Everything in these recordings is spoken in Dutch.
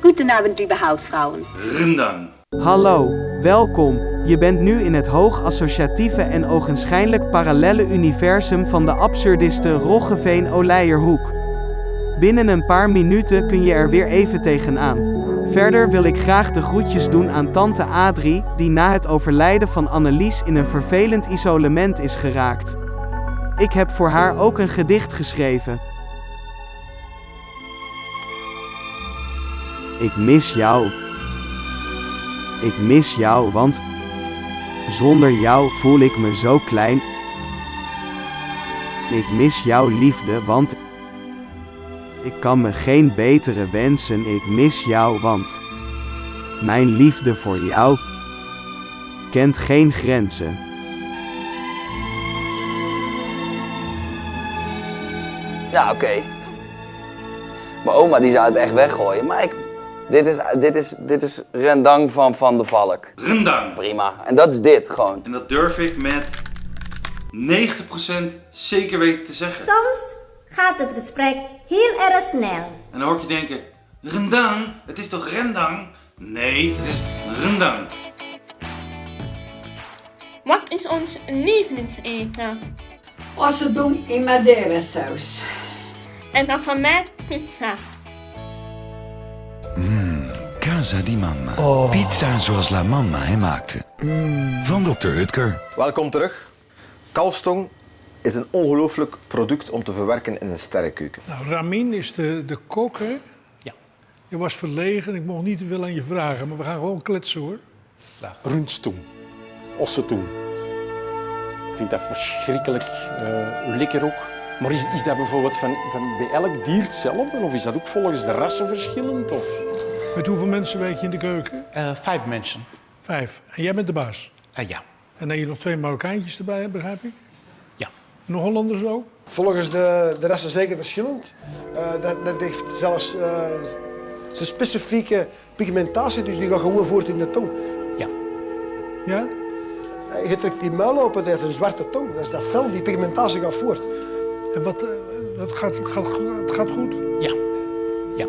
Guten Abend, liebe Hausfrauen. Rendang. Hallo, welkom. Je bent nu in het hoogassociatieve en ogenschijnlijk parallelle universum van de absurdiste Roggeveen-Oleierhoek. Binnen een paar minuten kun je er weer even tegenaan. Verder wil ik graag de groetjes doen aan tante Adrie, die na het overlijden van Annelies in een vervelend isolement is geraakt. Ik heb voor haar ook een gedicht geschreven. Ik mis jou. Ik mis jou, want zonder jou voel ik me zo klein. Ik mis jouw liefde, want ik kan me geen betere wensen. Ik mis jou, want mijn liefde voor jou kent geen grenzen. Ja, oké. Mijn oma die zou het echt weggooien, maar ik, dit, is, dit, is, dit is rendang van Van de Valk. Rendang. Prima. En dat is dit gewoon. En dat durf ik met 90% zeker weten te zeggen. Soms gaat het gesprek heel erg snel. En dan hoor ik je denken, rendang? Het is toch rendang? Nee, het is rendang. Wat is ons lievelingseten? Ossadum in madeira saus. En dan van mij pizza. Casa di Mamma. Pizza zoals La Mamma hem maakte. Van Dr. Hutker. Welkom terug. Kalfstong is een ongelooflijk product om te verwerken in een sterrenkeuken. Nou, Ramin is de, de kok, hè? Ja. Je was verlegen, ik mocht niet te veel aan je vragen, maar we gaan gewoon kletsen, hoor. Rundstoem. Ossetoem. Ik vind dat verschrikkelijk eh, lekker ook. Maar is, is dat bijvoorbeeld van, van bij elk dier hetzelfde? Of is dat ook volgens de rassen verschillend? Of? Met hoeveel mensen werk je in de keuken? Eh, vijf mensen. Eh, Vijf. En jij bent de baas. ja. En dan heb je nog twee Marokkaantjes erbij, hè, begrijp ik? Ja. En nog Hollanders ook? Volgens de, de rest is zeker verschillend. dat, heeft zelfs zijn specifieke pigmentatie, dus die gaat gewoon voort in de tong. Ja. Ja? Eh, Je drukt die muil open, dat is een zwarte tong. Dat is dat fel, die pigmentatie gaat voort. En wat, eh, dat gaat, gaat, het gaat goed? Ja. Ja.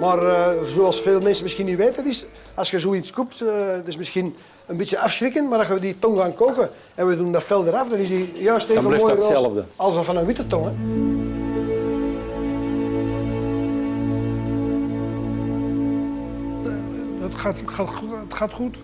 Maar eh, zoals veel mensen misschien niet weten, is als je zoiets koopt, eh het is misschien een beetje afschrikken, maar als we die tong gaan koken en we doen dat vel eraf, dan is die juist even blijft mooi dat roze hetzelfde. als dat van een witte tong. Hè? Eh, Dat gaat, gaat, gaat goed?